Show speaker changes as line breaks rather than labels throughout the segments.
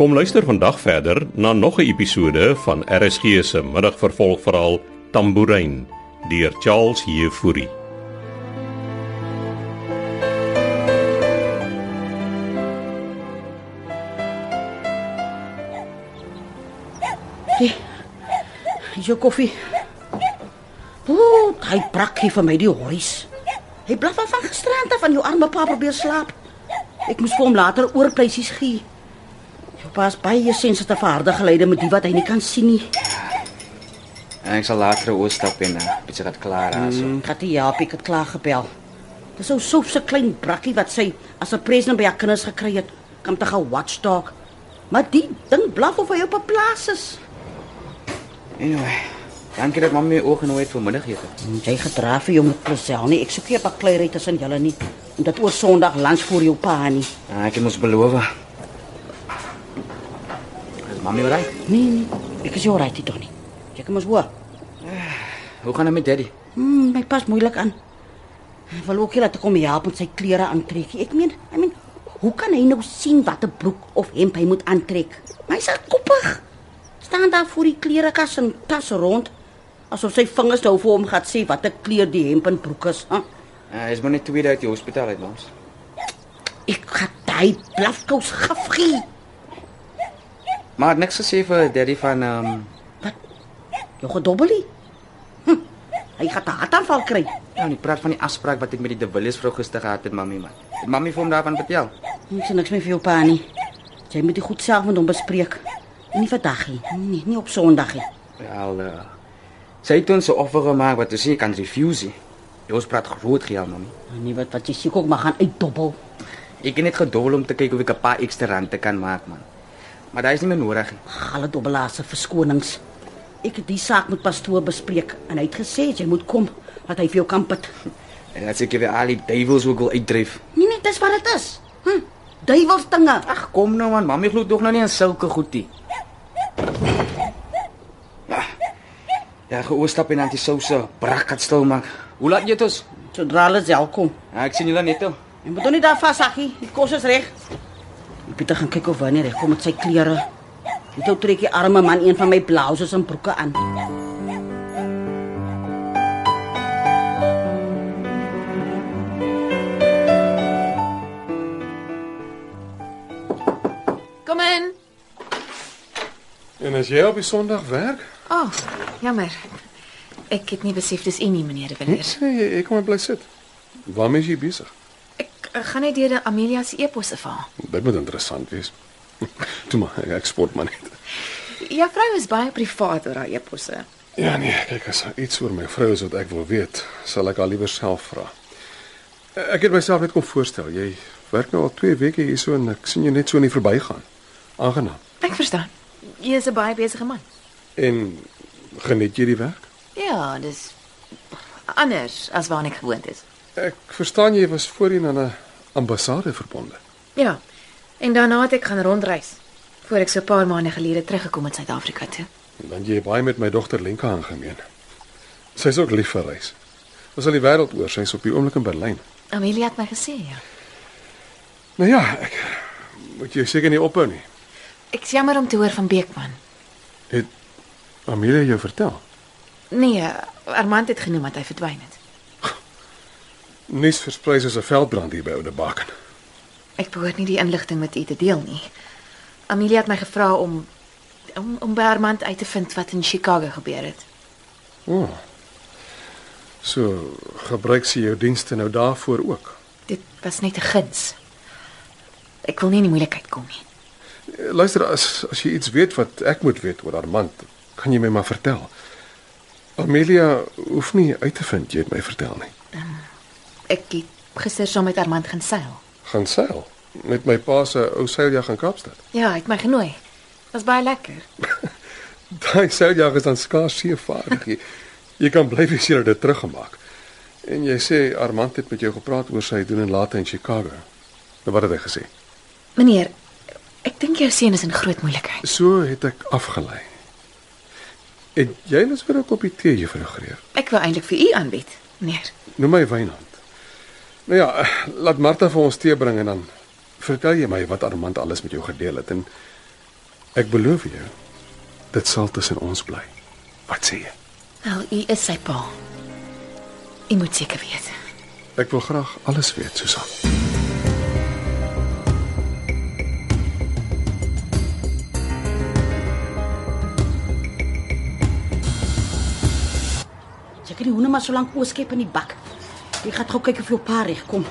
Kom luister vandag verder na nog 'n episode van RSG se middagvervolgverhaal Tambourine deur Charles Heffury.
Is jou koffie? Ooh, hy brakkie vir my die hories. Hy blaf al van gisterand af van jou arme pa probeer slaap. Ek moes vir hom later oorpleisies gee. Jou pa is baie sensitief vir harde geluide met die wat hy nie kan sien nie.
En ek sal later 'n oostap en 'n bietjie wat klaar raas.
Hmm. Ek het die Jaap ek het klaar gebel. Dis ou soep se klein brakkie wat sy as 'n present by haar kinders gekry het, kom te gaan watchdog. Maar die ding blaf of hy op 'n plaas is.
Anyway, dankie dat mamma my oog genooi het vir middagete.
Want Jy gedra vir jou met Prisel nie. Ek soek nie 'n bakleiery tussen julle nie. En dit oor Sondag lunch voor jou pa nie.
Ah, ek het mos beloof. Is mamma reg?
Nee nee, ek is jou right Tony. Jy kom ons hoor.
Hoe gaan dit met daddy?
Hmm, my pas moeilik aan. Hy wil ook nie laat ek hom help met sy klere aantrek nie. Ek meen, I mean, hoe kan hy nou sien watter broek of hemp hy moet aantrek? Maar hy's al koppig. Staan daar voor die klerekas en tas rond asof sy vingers nou vir hom gaan sê watter kleur die hemp en broek is. Huh?
Uh, is maar net twee dae uit die hospitaal uit, mams.
Ek gaan daai blafkous gaf gee.
Maar het niks gesê vir daddy van ehm um,
Wat? Jou gedobbelie? Hm, hy gaan 'n hartaanval kry.
nou nie praat van die afspraak wat ek met die De Villiers vrou gister gehad het, mamma man. Het mamma vir hom daarvan vertel?
Ek sien niks meer vir jou pa nie. Jy moet dit goed self met hom bespreek. Nie vandag nie. Nee, nie op Sondag nie.
Wel, uh, sy het ons 'n offer gemaak wat ons nie kan refuse nie. Ons praat groot geld, mamma.
Nee, wat wat jy seker ook maar gaan uitdobbel.
Ek het net gedobbel om te kyk of ek 'n paar ekstra rande kan maak, man. Maar daai is nie meer nodig nie.
Ag, Alle dobbelaarse verskonings. Ek het die saak met pastoor bespreek en hy het gesê jy moet kom dat hy vir jou kan pit.
En as ek weer al die duiwels ook wil uitdryf.
Nee nee, dis wat dit is. Hm, duiwelstinge.
Ag, kom nou man, mami glo tog nou nie aan sulke goedie. Ah, Ja, geoorstap en dan die souse brak het stil maak. Hoe laat eet ons?
Sodra hulle self kom.
Ja, ek sien julle net al.
Jy moet hom nie daar vashakkie. Die kos is reg. Pieter gaan kyk of wanneer hy kom met sy klere. Hy toe trek die arme man een van my blouses en broeke aan.
Kom in.
En as jy op die Sondag werk?
Ag, oh, jammer. Ek het nie besef dis u nie, meneer de Villiers.
Nee, ek kom en bly sit. Waarmee is jy besig?
Ek eh, gaan net deur Amelia se e-pos afhaal.
Dit moet interessant wees. Toe maar, ek ek sport maar net.
Juffrou is baie privaat oor haar e-posse.
Ja nee, kyk as daar iets oor my vrou is wat ek wil weet, sal ek haar liewer self vra. Ek het myself net kom voorstel. Jy werk nou al 2 weke hierso en ek sien jou net so in die verbygaan. Aangenaam.
Ek verstaan. U is 'n baie besige man.
En geniet jy die werk?
Ja, dis anders as waarna ek gewoond is.
Ek verstaan jy was voorheen aan 'n ambassade verbonde.
Ja. En daarna het ek gaan rondreis voor ek so 'n paar maande gelede teruggekom het Suid-Afrika toe.
En dan jy het baie met my dogter Lenka aangemeen. Sy's ook lief vir reis. Ons al die wêreld oor, sy's op die oomblik in Berlyn.
Amelia het my gesê, ja.
Nou ja, ek moet jou seker nie ophou nie.
Ek's jammer om te hoor van Beekman.
Het Amelia jou vertel?
Nee, eh, Armand het genoem dat hy verdwyn het.
Nuus versprei soos 'n veldbrand hier by Oudebaken.
Ek behoort nie die inligting met u te deel nie. Amelia het my gevra om om om by Armand uit te vind wat in Chicago gebeur het.
O. Oh. So gebruik sy jou dienste nou daarvoor ook.
Dit was net 'n guns. Ek wil nie in die moeilikheid kom nie.
Eh, Luister, as as jy iets weet wat ek moet weet oor Armand, kan jy my maar vertel. Amelia hoef nie uit te vind jy het my vertel nie.
Ek het gister saam met Armand gaan seil.
gaan seil met my pa se ou seiljag in Kaapstad.
Ja, hy het my genooi. Was baie lekker.
Daai seiljag is dan skaars seevaardig. Jy, jy kan bly wees jy het dit teruggemaak. En jy sê Armand het met jou gepraat oor sy doen en late in Chicago. Nou wat het hy gesê?
Meneer, ek dink jou seun is in groot moeilikheid.
So het ek afgelei. Het jy lus vir 'n koppie tee, juffrou Greer?
Ek wou eintlik vir u aanbied, meneer.
Noem my Wynand. Nou ja, eh, laat Martha vir ons tee bring en dan vertel jy my wat Armand alles met jou gedeel het en Ek beloof jou, dit sal tussen ons bly. Wat sê jy?
Wel, u is sy pa. U moet seker weet.
Ek wil graag alles weet, Susan.
Seker die hoene maar so lank ooskep in die bak. Jy gaan gou kyk of jou pa regkom.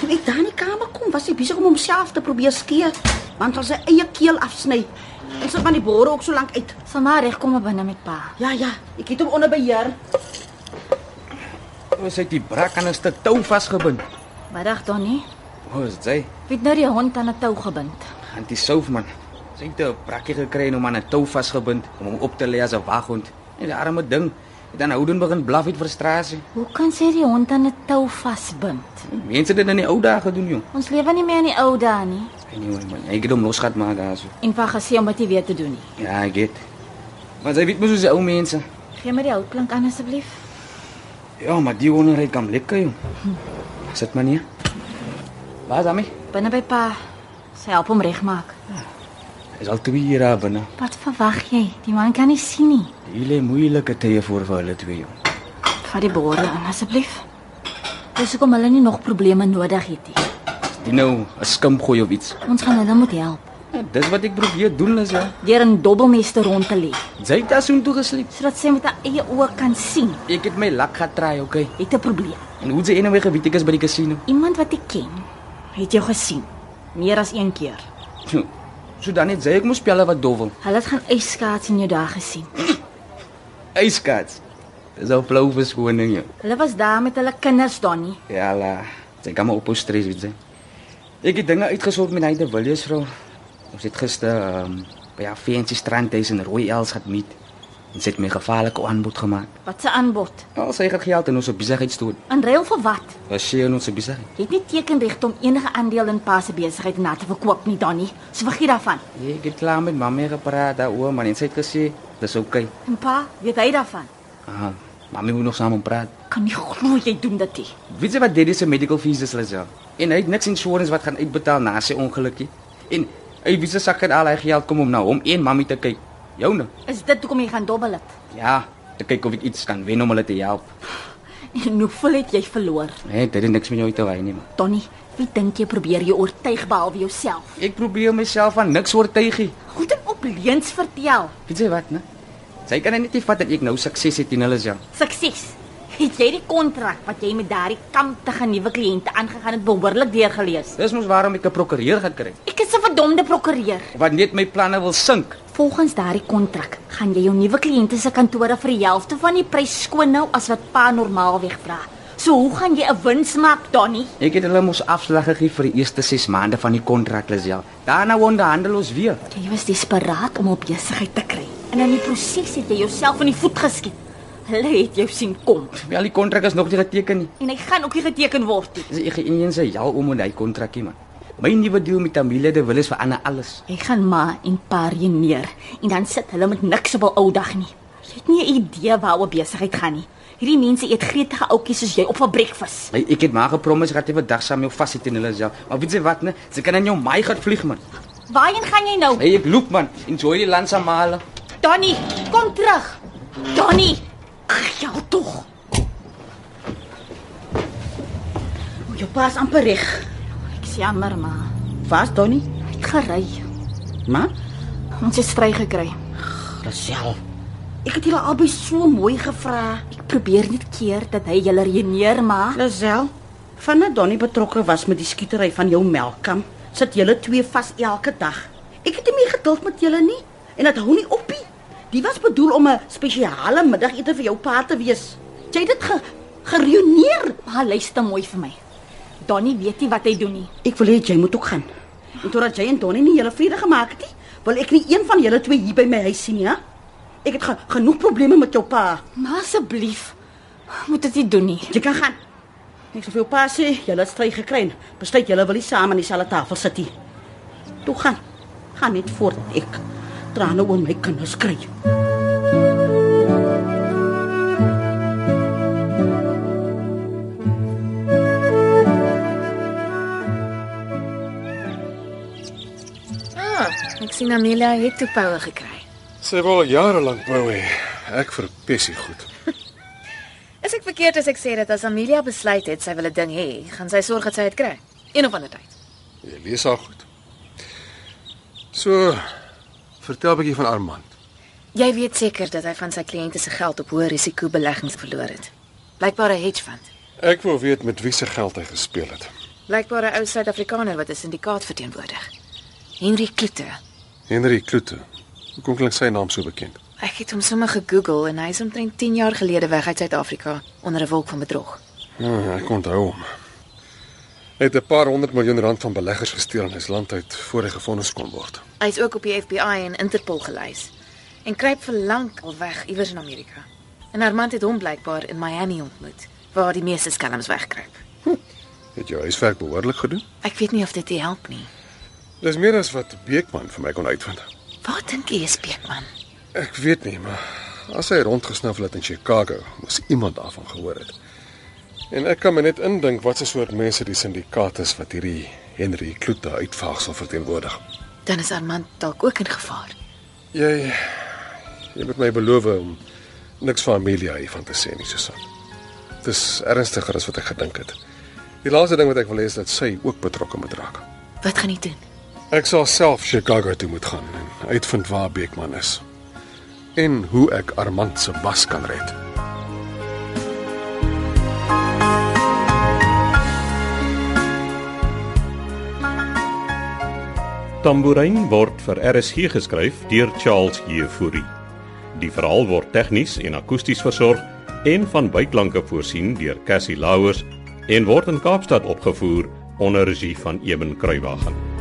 Toe ek daar in die kamer kom, was hy besig om homself te probeer skeer, want al sy eie keel afsny. En sit van die bore ook so lank uit.
Sal maar regkom maar binne met pa.
Ja ja, ek het hom onder beheer.
Ons het die brak aan 'n stuk tou vasgebind.
Middag Donnie.
O, is dit sy?
Wie het nou die hond aan 'n tou gebind?
Antie Soufman. Sy het 'n brakkie gekry en hom aan 'n tou vasgebind om hom op te lê as 'n waghond. En die arme ding het dan houden begin blaf uit frustrasie.
Hoe kan sy die hond aan 'n tou vasbind?
Mense het dit in die ou dae gedoen, jong.
Ons lewe nie meer in die ou dae nie.
Anyway, man, ek het hom losgehad maak daarso.
En pa gesê om dit nie weer te doen nie.
Ja, ek weet. Maar sy weet mos hoe se ou mense.
Gee my die houtklank aan asseblief.
Ja, maar die onderheid kan lekker, jong. Sit maar neer. Waar is Ami?
Binne by pa. Sy help hom regmaak.
Is al twee hier daar binne.
Wat verwag jy? Die man kan nie sien nie.
Hier lê moeilike tye voor vir hulle twee, jong.
Vat die bore aan asseblief. Dis hoekom hulle nie nog probleme nodig het nie.
Die nou 'n skimp gooi of iets.
Ons gaan hulle moet help
Ja, dis wat ek probeer doen, is ja.
deur 'n dobbelmester rond te lê
Sy het asoontoe gesliep.
sodat sy met haar eie oë kan sien.
Ek het my lak getraai, okay.
Het 'n probleem.
En hoe het sy eendag geweet ek is by die casino?
Iemand wat ek ken, het jou gesien meer as een keer.
Hm, So dan net sê ek moes speel wat dowel.
Hulle het gaan yskaats in jou daag gesien.
Yskats. Dis al blou verskoning jou.
Hulle was daar met hulle kinders dan nie.
Ja la. Sy kan maar op ons stres weet sy. Ek het dinge uitgesort met hy de Villiers vrou. Ons het gister ehm um, by haar fancy strandhuis in Rooi Els gaan meet. En sy het my 'n gevaarlike aanbod gemaak.
Wat se aanbod?
Al sy het geld in ons besigheid stoot.
In ruil vir wat?
Was sy in ons besigheid?
Jy het nie tekenregte om enige aandeel in Pa se besigheid na te verkoop nie, Donnie. So vergeet daarvan.
Ja, Ek het klaar met mamma gepraat daaroor, maar net sy het gesê dis oukei. Okay.
En Pa, weet hy daarvan?
Ah, mamma moet nog saam praat.
Kan nie glo jy doen dit nie.
Weet jy wat Daddy se medical fees is, Lizel? En hy het niks insurance wat gaan uitbetaal na sy ongelukkie. En hy wie se sak het al hy geld kom om na hom en mammy te kyk. Joune.
Is dit hoekom jy gaan dobbel dit?
Ja, te kyk of ek iets kan wen om hulle te help.
En hoeveel het jy verloor?
Nee, dit het niks met jou te wy nie, man.
Donnie, wie dink jy probeer jy oortuig behalwe jouself?
Ek probeer myself van niks oortuigie.
Goed en op leuns vertel.
Weet jy wat, né? Sy kan net nie vat dat ek nou sukses het in hulle self.
Sukses. Het jy die kontrak wat jy met daardie kamptige nuwe kliënte aangegaan het behoorlik deurgelees?
Dis mos waarom ek 'n prokureur gekry het.
Ek is 'n verdomde prokureur.
Wat net my planne wil sink.
Volgens daardie kontrak gaan jy jou nuwe kliënte se kantore vir die helfte van die prys skoon nou as wat pa normaalweg vra. So hoe gaan jy 'n wins maak, Donnie?
Ek het hulle mos afslag gegee vir die eerste 6 maande van die kontrak, Lizel. Daarna onderhandel ons weer.
Jy was desperaat om 'n besigheid te kry. En in die proses het jy jouself in die voet geskiet. Hulle het jou sien kom
Wel, die kontrak is nog nie geteken nie.
en hy gaan ook nie geteken word nie.
Dis ek Indian se jou om en hy kontrakkie man. My nuwe deal met Tamile de Willis verander alles.
Hy gaan ma en pa reëneer en dan sit hulle met niks op 'n ou dag nie. Jy het nie 'n idee waaroor besigheid gaan nie. Hierdie mense eet gretige ouetjies soos jy op 'n breakfast.
My ek het maar gepromis ek gaan dit vandag saam jou vashit en hulle ja. Maar weet jy wat ne? Sy kan aan jou my gaan vlieg man.
Waarheen gaan jy nou?
Hey, ek loop man. Enjoy die land saam maar.
Donnie, kom terug. Donnie. Ag, ja tog.
O, jou pa is amper reg.
Ek is jammer maar.
Waar's Donnie?
Hy het gery.
Ma?
Ons het stry gekry.
Gesel. Ek het julle albei so mooi gevra.
Ek probeer net keer dat hy julle reëneer
Ah.
maar.
Lisel, vandat Donnie betrokke was met die skietery van jou melkkamp, sit julle twee vas elke dag. Ek het nie meer geduld met julle nie en dit hou nie op nie. Die was bedoel om 'n spesiale middagete vir jou pa te wees. Jy het dit ge gereüneer.
Maar luister mooi vir my. Donnie weet nie wat hy doen nie.
Ek wil hê jy moet ook gaan. En totdat jy en Donnie nie julle vrede gemaak het nie, wil ek nie een van julle twee hier by my huis sien nie, hè? Ek het ge genoeg probleme met jou pa.
Maar asseblief, moet dit nie doen nie.
Jy kan gaan. Ek sê vir jou pa sê, julle het stry gekry. en Besluit julle wil nie saam aan dieselfde tafel sit nie. Toe gaan. Gaan net voort ek trane oor my kinders kry.
Ah, ek sien Amelia het toe poue gekry.
Sy wou al jare lank bou hê. Ek verpes dit goed.
Is ek verkeerd as ek sê dat as Amelia besluit het sy wil 'n ding hê, gaan sy sorg dat sy dit kry? Een of ander tyd.
Jy lees haar goed. So vertel 'n bietjie van Armand.
Jy weet seker dat hy van sy kliënte se geld op hoë risiko beleggings verloor het. Blykbaar 'n hedge fund.
Ek wil weet met wie se geld hy gespeel het.
Blykbaar 'n ou Suid-Afrikaner wat 'n syndikaat verteenwoordig. Henry Kloete.
Henry Kloete. Hoekom klink sy naam so bekend?
Ek het hom sommer gegoogel en hy is omtrent 10 jaar gelede weg uit Suid-Afrika onder 'n wolk van bedrog.
Ah, ek onthou hom. Hy het 'n paar honderd miljoen rand van beleggers gesteel in sy land uit voor hy gefonnis kon word.
Hy is ook op die FBI en Interpol gelys en kruip vir lank al weg iewers in Amerika. En Armand het hom blykbaar in Miami ontmoet waar die meeste skelms wegkruip.
Het jou huiswerk behoorlik gedoen?
Ek weet nie of dit die help nie.
Dis meer as wat Beekman vir my kon uitvind.
Wat dink jy, Speekman?
Ek weet nie, maar as hy rondgesnuffel het in Chicago, moes iemand daarvan gehoor het. En ek kan my net indink wat 'n soort mense die syndikaat is wat hierdie Henry Kloete uitvaagsel verteenwoordig.
Dan is Armand dalk ook in gevaar.
Jy jy moet my beloof om niks van Amelia hiervan te sê nie, Susan. Dit is ernstiger as wat ek gedink het. Die laaste ding wat ek wil hê is dat sy ook betrokke moet raak.
Wat gaan hy doen?
Ek sal self Chicago toe moet gaan en uitvind waar Beekman is en hoe ek Armand se bas kan red.
Tambourine word vir RSG geskryf deur Charles Jefouri. Die verhaal word tegnies en akoesties versorg en van byklanke voorsien deur Cassie Lauers en word in Kaapstad opgevoer onder regie van Eben Kruiwagen.